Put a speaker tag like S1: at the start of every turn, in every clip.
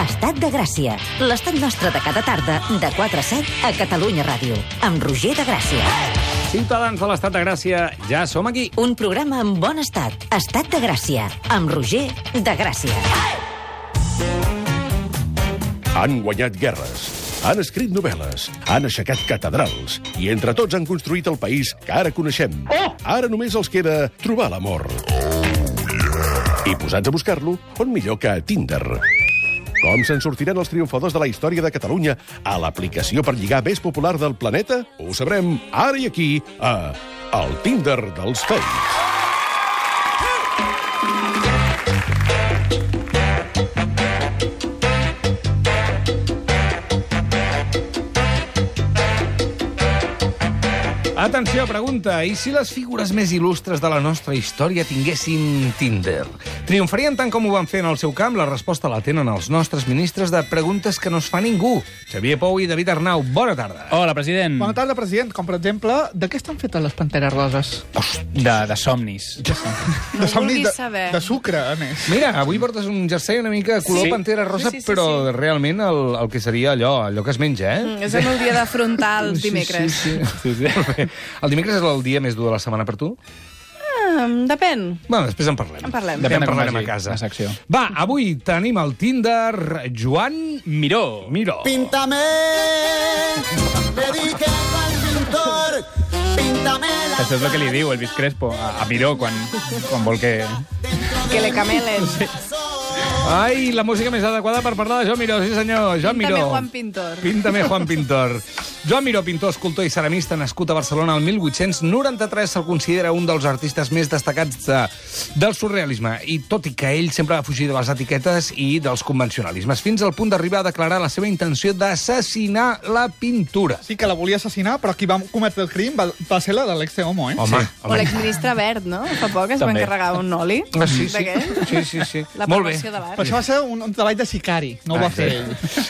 S1: Estat de Gràcia. L'estat nostre de cada tarda, de 4 a 7, a Catalunya Ràdio. Amb Roger de Gràcia.
S2: Ciutadans de l'Estat de Gràcia, ja som aquí.
S1: Un programa en bon estat. Estat de Gràcia. Amb Roger de Gràcia.
S3: Han guanyat guerres, han escrit novel·les, han aixecat catedrals i entre tots han construït el país que ara coneixem. Oh! Ara només els queda trobar l'amor. Oh, yeah. I posats a buscar-lo, on millor que a Tinder. Com se'n sortiran els triomfadors de la història de Catalunya a l'aplicació per lligar més popular del planeta? Ho sabrem ara i aquí, a El Tinder dels Fakes.
S2: Atenció, pregunta. I si les figures més il·lustres de la nostra història tinguessin Tinder? Triomfarien tant com ho van fer en el seu camp? La resposta la tenen els nostres ministres de preguntes que no es fa ningú. Xavier Pou i David Arnau, bona tarda.
S4: Hola, president.
S5: Bona tarda, president. Com, per exemple, de què estan fetes les panteres roses?
S4: De, de somnis.
S5: de
S6: vulguis
S5: de,
S6: saber.
S5: de sucre, a més.
S2: Mira, avui portes un jersei una mica color
S4: Sí.
S2: sí. pantera rosa, sí, sí, sí, però sí. realment el, el que seria allò, allò que es menja, eh?
S6: Mm, És en el dia de frontals, dimecres. Sí,
S2: Sí, sí, sí. sí. El dimecres és el dia més dur de la setmana per tu?
S6: Depèn.
S2: Bueno, després en parlem.
S6: En parlem.
S2: Depèn
S4: de
S2: en
S4: com
S2: parlarem a
S4: vagi
S2: casa.
S4: la secció.
S2: Va, avui tenim al Tinder Joan
S4: Miró.
S2: Miró.
S7: Píntame, le dije al pintor, píntame la
S4: Això és el que li diu Elvis Crespo a, a Miró quan, quan vol que...
S6: Que le camelen. Sí.
S2: Ai, la música més adequada per parlar de Joan Miró, sí senyor, Joan
S6: Píntame
S2: Miró.
S6: Juan Pintor.
S2: Píntame Juan Pintor. Joan Miró, pintor, escultor i ceramista, nascut a Barcelona el 1893, se'l considera un dels artistes més destacats de, del surrealisme, i tot i que ell sempre va fugir de les etiquetes i dels convencionalismes, fins al punt d'arribar a declarar la seva intenció d'assassinar la pintura.
S5: Sí que la volia assassinar, però qui va cometre el crim va, va ser la de l'ex Homo, eh?
S2: Home,
S6: O l'exministre Verd, no? Fa poc es va
S4: També.
S6: encarregar un oli.
S2: Ah, sí, sí.
S6: d'aquell.
S2: sí, sí, sí.
S6: La
S2: Molt bé.
S6: promoció de
S5: Però
S6: l'art.
S5: això va ser un, un treball de sicari, no ho va
S2: Ah,
S5: fer
S2: sí.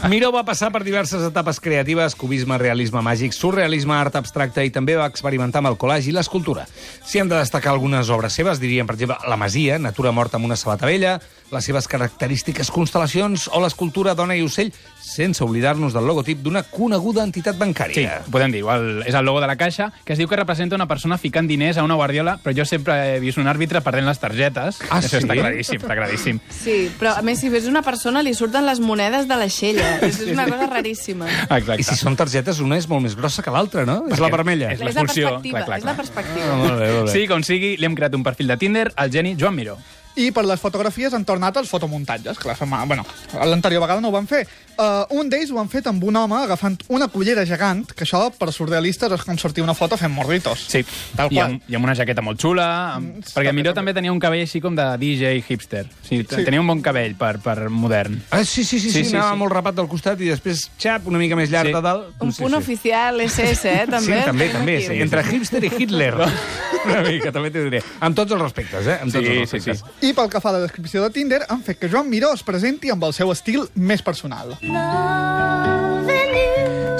S5: ell.
S2: Miró va passar per diverses etapes creatives, cubisme, realisme màgic, surrealisme, art abstracte i també va experimentar amb el col·lagi i l'escultura. Si hem de destacar algunes obres seves, diríem, per exemple, La Masia, Natura morta amb una sabata vella, les seves característiques constel·lacions o l'escultura Dona i ocell, sense oblidar-nos del logotip d'una coneguda entitat
S4: Sí,
S2: bancària.
S4: ho podem dir. El, és el logo de la caixa, que es diu que representa una persona ficant diners a una guardiola, però jo sempre he vist un àrbitre perdent les targetes.
S2: Ah,
S4: Això està
S2: sí?
S4: claríssim, està claríssim.
S6: Sí, però a més, si ves una persona, li surten les monedes de la xella. És una cosa raríssima.
S4: Exacte.
S2: I si són targetes, una és molt més grossa que l'altra, no? És la
S4: Perquè
S2: vermella.
S4: És la
S6: És la
S4: funció,
S6: perspectiva.
S4: clar, clar,
S6: És la
S4: clar.
S6: perspectiva.
S2: Ah, molt bé, molt bé.
S4: Sí, com sigui, li hem creat un perfil de Tinder al geni Joan Miró.
S5: I per les fotografies han tornat als fotomuntatges, que la fema... bueno, l'anterior vegada no ho van fer. Uh, un d'ells ho han fet amb un home agafant una cullera gegant, que això, per surrealistes, és com sortir una foto fent morritos.
S4: Sí,
S5: Tal
S4: I,
S5: qual.
S4: amb, I amb una jaqueta molt xula, amb... perquè
S5: Mm, també,
S4: Miró
S5: també.
S4: també tenia un cabell així com de DJ hipster. Sí, sí. Tenia un bon cabell per, per modern.
S2: Ah, sí, sí, sí, sí,
S4: Sí,
S2: sí
S4: sí,
S2: anava
S4: sí.
S2: molt rapat del costat i després, xap, una mica més llarg
S4: Sí.
S2: de dalt.
S6: Un
S2: Sí,
S6: punt
S2: sí.
S6: oficial SS, eh?
S2: Sí,
S6: També.
S2: també,
S6: Tenim
S2: també.
S6: aquí.
S2: Sí. Entre hipster i Hitler. Una mica, també t'ho diré. Amb tots els respectes, eh? Amb tots
S4: Sí,
S2: els
S4: sí,
S2: respectes.
S4: sí.
S5: I pel que fa a la descripció de Tinder, han fet que Joan Miró es presenti amb el seu estil més personal.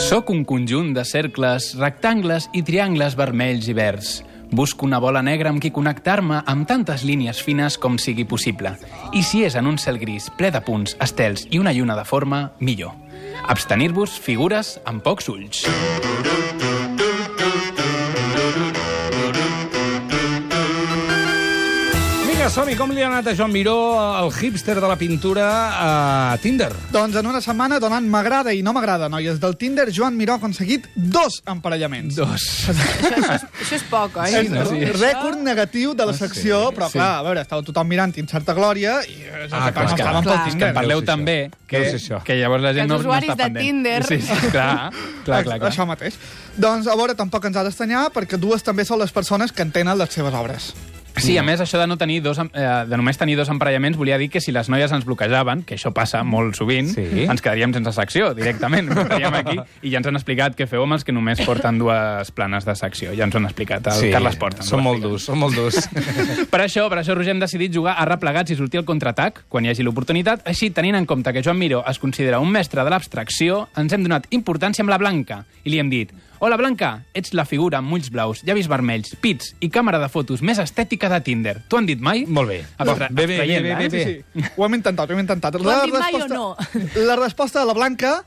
S4: Soc un conjunt de cercles, rectangles i triangles vermells i verds. Busco una bola negra amb qui connectar-me amb tantes línies fines com sigui possible. I si és en un cel gris, ple de punts, estels i una lluna de forma, millor. Abstenir-vos figures amb pocs ulls.
S2: Vinga, som-hi. Com li ha anat a Joan Miró, el hipster de la pintura, a Tinder?
S5: Doncs en una setmana, donant m'agrada i no m'agrada, noies del Tinder, Joan Miró ha aconseguit dos emparellaments.
S2: Dos.
S6: Això és poc, oi?
S5: És un rècord negatiu de la secció, però clar, a veure, estava tothom mirant Tim Certa Glòria i eh,
S2: Ah,
S5: ah,
S2: clar,
S5: clar,
S4: clar,
S5: estàvem
S6: clar.
S5: pel
S6: És
S5: Tinder.
S4: Parleu
S2: Deus ser
S4: també
S2: això.
S4: que,
S2: Deus ser això.
S4: que llavors la gent
S6: Els
S4: no, no
S6: usuaris
S4: està
S6: de
S4: pendent.
S6: Tinder.
S4: Sí, sí, clar, clar, clar, clar.
S5: Això mateix. Doncs, a veure, tampoc ens ha d'estanyar, perquè dues també són les persones que entenen les seves obres.
S4: Sí, a més, això de, no tenir dos, em- eh, de només tenir dos emparellaments volia dir que si les noies ens bloquejaven, que això passa molt sovint,
S2: Sí.
S4: ens quedaríem sense secció directament. Estaríem aquí i ja ens han explicat què feu amb els que només porten dues planes de secció. Ja ens ho han explicat. El sí. Carles Porta. ens ho
S2: Són
S4: va
S2: molt
S4: explicar.
S2: durs, són molt durs.
S4: Per això, per això, Roger, hem decidit jugar a replegats i sortir al contraatac quan hi hagi l'oportunitat. Així, tenint en compte que Joan Miró es considera un mestre de l'abstracció, ens hem donat importància amb la blanca i li hem dit Hola, Blanca, ets la figura amb ulls blaus, llavis vermells, pits i càmera de fotos més estètica de Tinder. T'ho han dit mai?
S2: Molt bé.
S4: Abstra
S2: Bé, bé, bé,
S4: abstraient-la,
S2: bé, bé,
S4: eh?
S2: bé.
S5: Sí, sí. Ho hem intentat, ho hem intentat.
S6: Ho han dit mai o
S5: no? La resposta de la Blanca...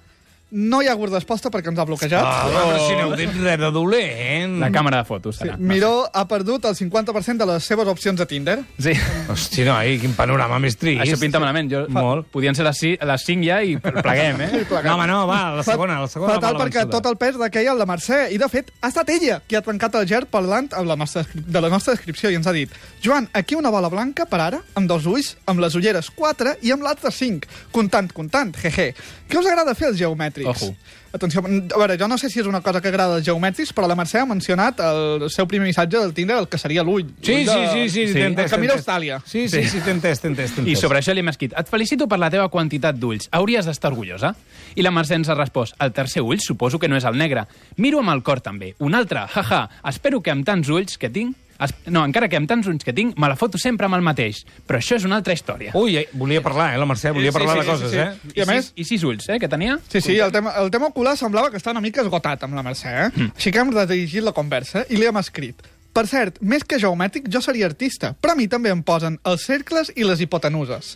S5: No hi ha hagut resposta perquè ens ha bloquejat.
S2: Ah, però si no heu dit res de dolent.
S4: La càmera de fotos,
S5: Sí,
S4: serà.
S5: Miró ha perdut el 50% de les seves opcions de Tinder.
S4: Sí.
S2: Hosti, noi, quin panorama més trist.
S4: Això pinta malament. Jo,
S2: Molt.
S4: Podien ser les, ci- les 5 ja i pleguem, eh?
S2: No, home, no, va, la segona, la segona.
S5: Fatal
S2: va, la
S5: perquè
S2: vençuda.
S5: tot el pes requeia en la Mercè. I, de fet, ha estat ella qui ha trencat el gel parlant amb la nostra, de la nostra descripció i ens ha dit Joan, aquí una bola blanca per ara, amb dos ulls, amb les ulleres 4 i amb l'altre 5. Comptant, comptant, jeje. Què us agrada fer, els geomètrics?
S4: Ojo.
S5: Atenció, mm, a veure, jo no sé si és una cosa que agrada als geomètrics, però la Mercè ha mencionat el seu primer missatge del Tinder, el que seria l'ull.
S2: Sí,
S5: L'ull de-
S2: sí, sí, sí, sí.
S4: Sí.
S2: t'entès,
S5: El camí
S2: t'entès.
S5: d'Austràlia.
S2: Sí, sí, sí, t'entès, t'entès, t'entès.
S4: I sobre això li hem escrit. Et felicito per la teva quantitat d'ulls. Hauries d'estar orgullosa. I la Mercè ens ha respost. El tercer ull suposo que no és el negre. Miro amb el cor també. Un altre. Jaja. Espero que amb tants ulls que tinc... Es... No, encara que amb tants ulls que tinc, me la foto sempre amb el mateix. Però això és una altra història.
S2: Ui, eh, volia parlar, eh, la Mercè, volia
S5: Sí,
S2: parlar
S5: sí,
S2: de
S5: sí,
S2: coses,
S5: sí, sí.
S2: eh?
S5: I a més,
S4: sis, I sis ulls, eh, que tenia.
S5: Sí, sí, el tema, el tema ocular semblava que estava una mica esgotat amb la Mercè, eh? Mm. Així que hem redirigit la conversa i li hem escrit. Per cert, més que geomètric, jo seria artista, però a mi també em posen els cercles i les hipotenuses.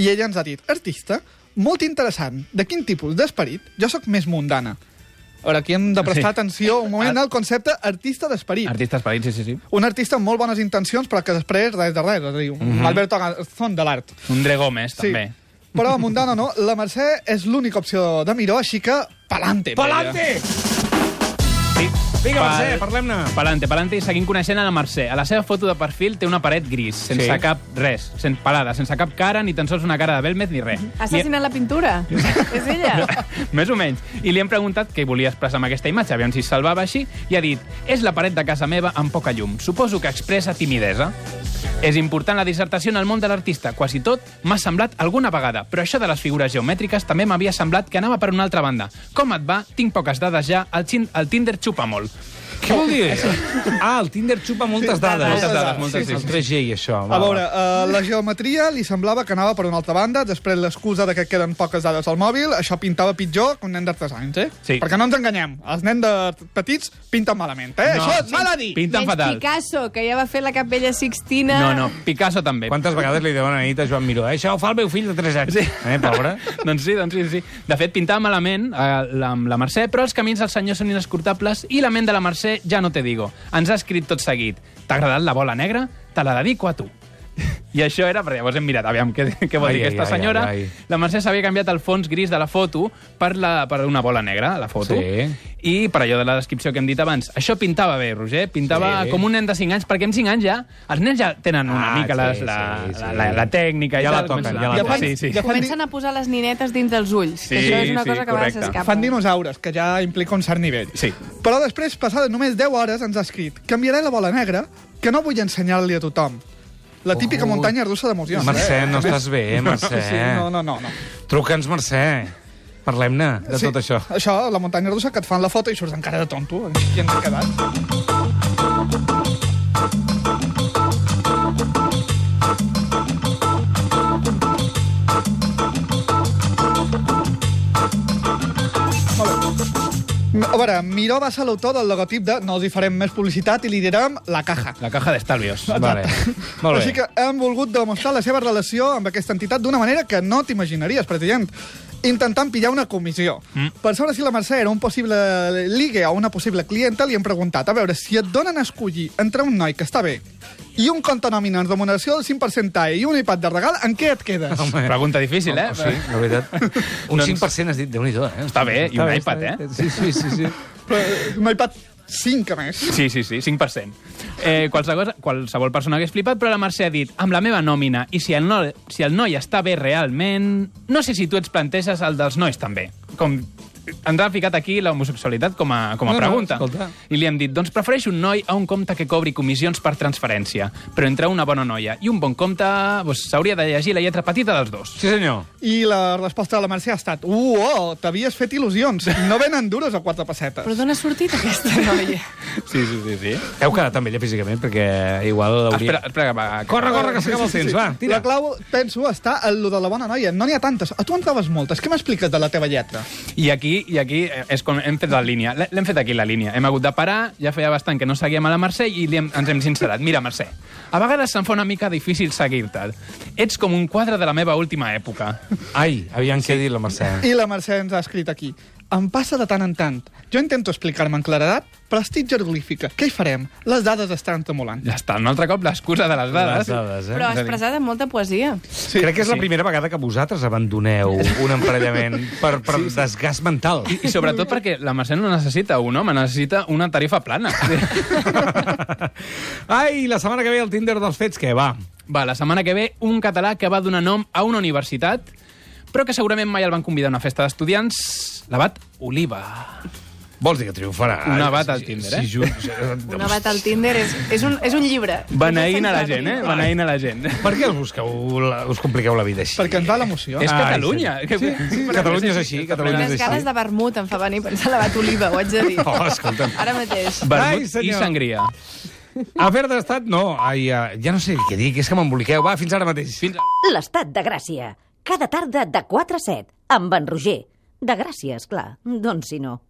S5: I ella ens ha dit, artista? Molt interessant. De quin tipus d'esperit? Jo sóc més mundana. A veure, aquí hem de prestar
S4: Sí.
S5: atenció un moment al concepte artista d'esperit
S4: Artistes parits, sí, sí, sí.
S5: un artista amb molt bones intencions però que després res de res, és a dir, un Alberto Garzón de l'art.
S4: Un Dre Gómez, també.
S5: Però a Mundana no, la Mercè és l'única opció de Miró, així que pelante.
S2: Pelante!
S4: Sí.
S2: Vinga, Mercè, parlem-ne.
S4: Palante, palante, i seguim coneixent a la Mercè. A la seva foto de perfil té una paret gris, sense
S2: Sí.
S4: sí. cap res, sense pelada, sense cap cara, ni tan sols una cara de Belmez, ni res.
S6: Ha
S4: Ni-
S6: assassinat la pintura. és ella.
S4: Més o menys. I li hem preguntat què volia expressar amb aquesta imatge, aviam si es salvava així, i ha dit, és la paret de casa meva amb poca llum. Suposo que expressa timidesa. És important la dissertació en el món de l'artista. Quasi tot m'ha semblat alguna vegada, però això de les figures geomètriques també m'havia semblat que anava per una altra banda. Com et va? Tinc poques dades ja, el, xin, el Tinder xupa molt.
S2: Què vol dir? Ah, el Tinder xupa moltes dades.
S4: moltes dades, moltes
S2: Sí, sí, sí. El 3G i això.
S5: A veure, uh, la geometria li semblava que anava per una altra banda, després l'excusa de que queden poques dades al mòbil, això pintava pitjor que un nen de 3 anys, eh?
S4: Sí.
S5: Perquè no ens enganyem, els nens de petits pinten malament, eh? No. Això és mal a dir!
S4: Pinten
S6: Menys
S4: fatal.
S6: Picasso, que ja va fer la Capella Sixtina.
S4: No, no, Picasso també.
S2: Quantes vegades li deuen a nit a Joan Miró? Eh? Això ho fa el meu fill de 3 anys.
S4: Sí.
S2: Eh, pobre?
S4: doncs sí, doncs sí, sí. De fet, pintava malament eh, la, amb la Mercè, però els camins del senyor són inescrutables i la ment de la Mercè ja no te digo. Ens ha escrit tot seguit. T'ha agradat la bola negra? Te la dedico a tu. I això era, perquè llavors hem mirat, aviam, què, què vol
S2: Ai,
S4: dir
S2: ai,
S4: aquesta
S2: ai,
S4: senyora.
S2: ai, ai.
S4: La Mercè s'havia canviat el fons gris de la foto per, la, per una bola negra, a la foto.
S2: Sí.
S4: I per allò de la descripció que hem dit abans. Això pintava bé, Roger, pintava
S2: Sí.
S4: sí. com un nen de 5 anys, perquè amb 5 anys ja, els nens ja tenen una
S2: Ah,
S4: mica
S2: sí,
S4: les, la,
S2: sí,
S4: la,
S2: sí.
S4: la, la, tècnica. i
S2: Ja la
S4: tal.
S2: toquen,
S4: Comença-
S2: ja la
S5: Ja
S2: toquen.
S5: fan,
S4: Sí, sí.
S5: ja fan,
S6: Comencen a posar les ninetes dins dels ulls,
S4: Sí,
S6: que això és una
S4: sí,
S6: cosa que a vegades
S4: correcte.
S6: s'escapa.
S5: Fan dinosaures, que ja implica un cert nivell.
S4: Sí.
S5: Però després, passades només 10 hores, ens ha escrit canviaré la bola negra, que no vull ensenyar-li a tothom. La típica
S2: Oh.
S5: muntanya russa d'emocions.
S2: Mercè, no estàs bé, eh, Mercè?
S5: Sí, sí, no, no, no. no.
S2: Truca'ns, Mercè. Parlem-ne de
S5: sí,
S2: tot això.
S5: Això, la muntanya russa, que et fan la foto i surts amb cara de tonto. eh? I ens ha quedat. Molt bé. A veure, Miró va ser l'autor del logotip de No els hi farem més publicitat i li direm La Caja.
S4: La caja d'estalvios.
S2: Vale. Molt bé.
S5: Així que hem volgut demostrar la seva relació amb aquesta entitat d'una manera que no t'imaginaries, president intentant pillar una comissió. Mm. Per saber si la Mercè era un possible ligue o una possible clienta, li hem preguntat, a veure, si et donen a escollir entre un noi que està bé i un compte nòmina en remuneració del 5% TAE i un iPad de regal, en què et quedes?
S2: Home.
S4: Pregunta difícil, eh?
S2: Oh, sí, la veritat. Un
S4: Doncs-
S2: 5% has dit, Déu-n'hi-do, eh?
S4: Està bé, i un iPad,
S2: està bé.
S4: eh?
S2: Sí, sí, sí. sí.
S5: Però, eh, Un iPad 5, a més.
S4: Sí, sí, sí, 5%. Eh, qualsevol, qualsevol persona hagués flipat, però la Mercè ha dit, amb la meva nòmina, i si el, no, si el noi està bé realment, no sé si tu ets planteges el dels nois també. Com ens ha ficat aquí l'homosexualitat com a, com a
S2: No, no,
S4: pregunta.
S2: escolta.
S4: I li hem dit, doncs prefereixo un noi a un compte que cobri comissions per transferència, però entre una bona noia i un bon compte doncs, s'hauria de llegir la lletra petita dels dos.
S2: Sí, senyor.
S5: I la resposta de la Mercè ha estat Uau, t'havies fet il·lusions. No venen dures a quatre pessetes.
S6: Però d'on ha sortit aquesta noia?
S4: Sí, sí, sí. sí.
S2: Heu quedat amb ella físicament, perquè igual hauria...
S4: Ah, Espera, espera, va, que-
S2: Corre, corre, que s'acaba el temps, va, tira.
S5: La clau, penso, està en lo de la bona noia. No n'hi ha tantes. A tu en trobes moltes. Què m'expliques de la teva lletra?
S4: I aquí aquí i aquí eh, és com hem fet la línia. L'he- L'hem fet aquí, la línia. Hem hagut de parar, ja feia bastant que no seguíem a la Mercè i li hem, ens hem sincerat. Mira, Mercè, a vegades se'm fa una mica difícil seguir-te. Ets com un quadre de la meva última època.
S2: Ai, aviam sí. què ha dit la Mercè.
S5: I la Mercè ens ha escrit aquí. Em passa de tant en tant. Jo intento explicar-me en claredat, però estic jeroglífica. Què hi farem? Les dades estan tremolant.
S4: Ja està, un altre cop l'excusa de les dades.
S2: Les dades, eh?
S4: Doncs
S6: Però expressat amb molta poesia.
S2: Sí, Crec que és la primera vegada que vosaltres abandoneu un emparellament per, per sí, sí. desgast mental.
S4: I, I sobretot perquè la Mercè no necessita un home, necessita una tarifa plana.
S2: Ai, la setmana que ve el Tinder dels fets, què va?
S4: Va, la setmana que ve, un català que va donar nom a una universitat, però que segurament mai el van convidar a una festa d'estudiants, l'abat Oliva.
S2: Vols dir que triomfarà?
S4: Una bata al
S2: Si-
S4: Tinder,
S2: si
S4: eh?
S2: ju-
S6: Una bata al Tinder és, és, un, és un llibre.
S4: Beneint a la gent, eh? Beneint a la gent.
S2: Per què us, busqueu, la, us compliqueu la vida així?
S5: Perquè ens va l'emoció.
S4: És
S2: Ai,
S4: Catalunya.
S2: sí. Sí, sí, Catalunya és així, Catalunya
S6: Les
S2: és
S6: ganes
S2: així.
S6: de vermut em fa venir a pensar a l'abat Oliva, ho haig de dir.
S2: Oh, escolta'm.
S6: Ara mateix.
S2: Ai,
S4: Vermut i
S2: senyor.
S4: sangria.
S2: Haver d'estat, no. Ai, ja, ja no sé què dir, que és que m'emboliqueu. Va, fins ara mateix.
S4: Fins
S1: L'estat de Gràcia. Cada tarda de 4 a 7. Amb en Roger. De Gràcia, és clar. Doncs si no.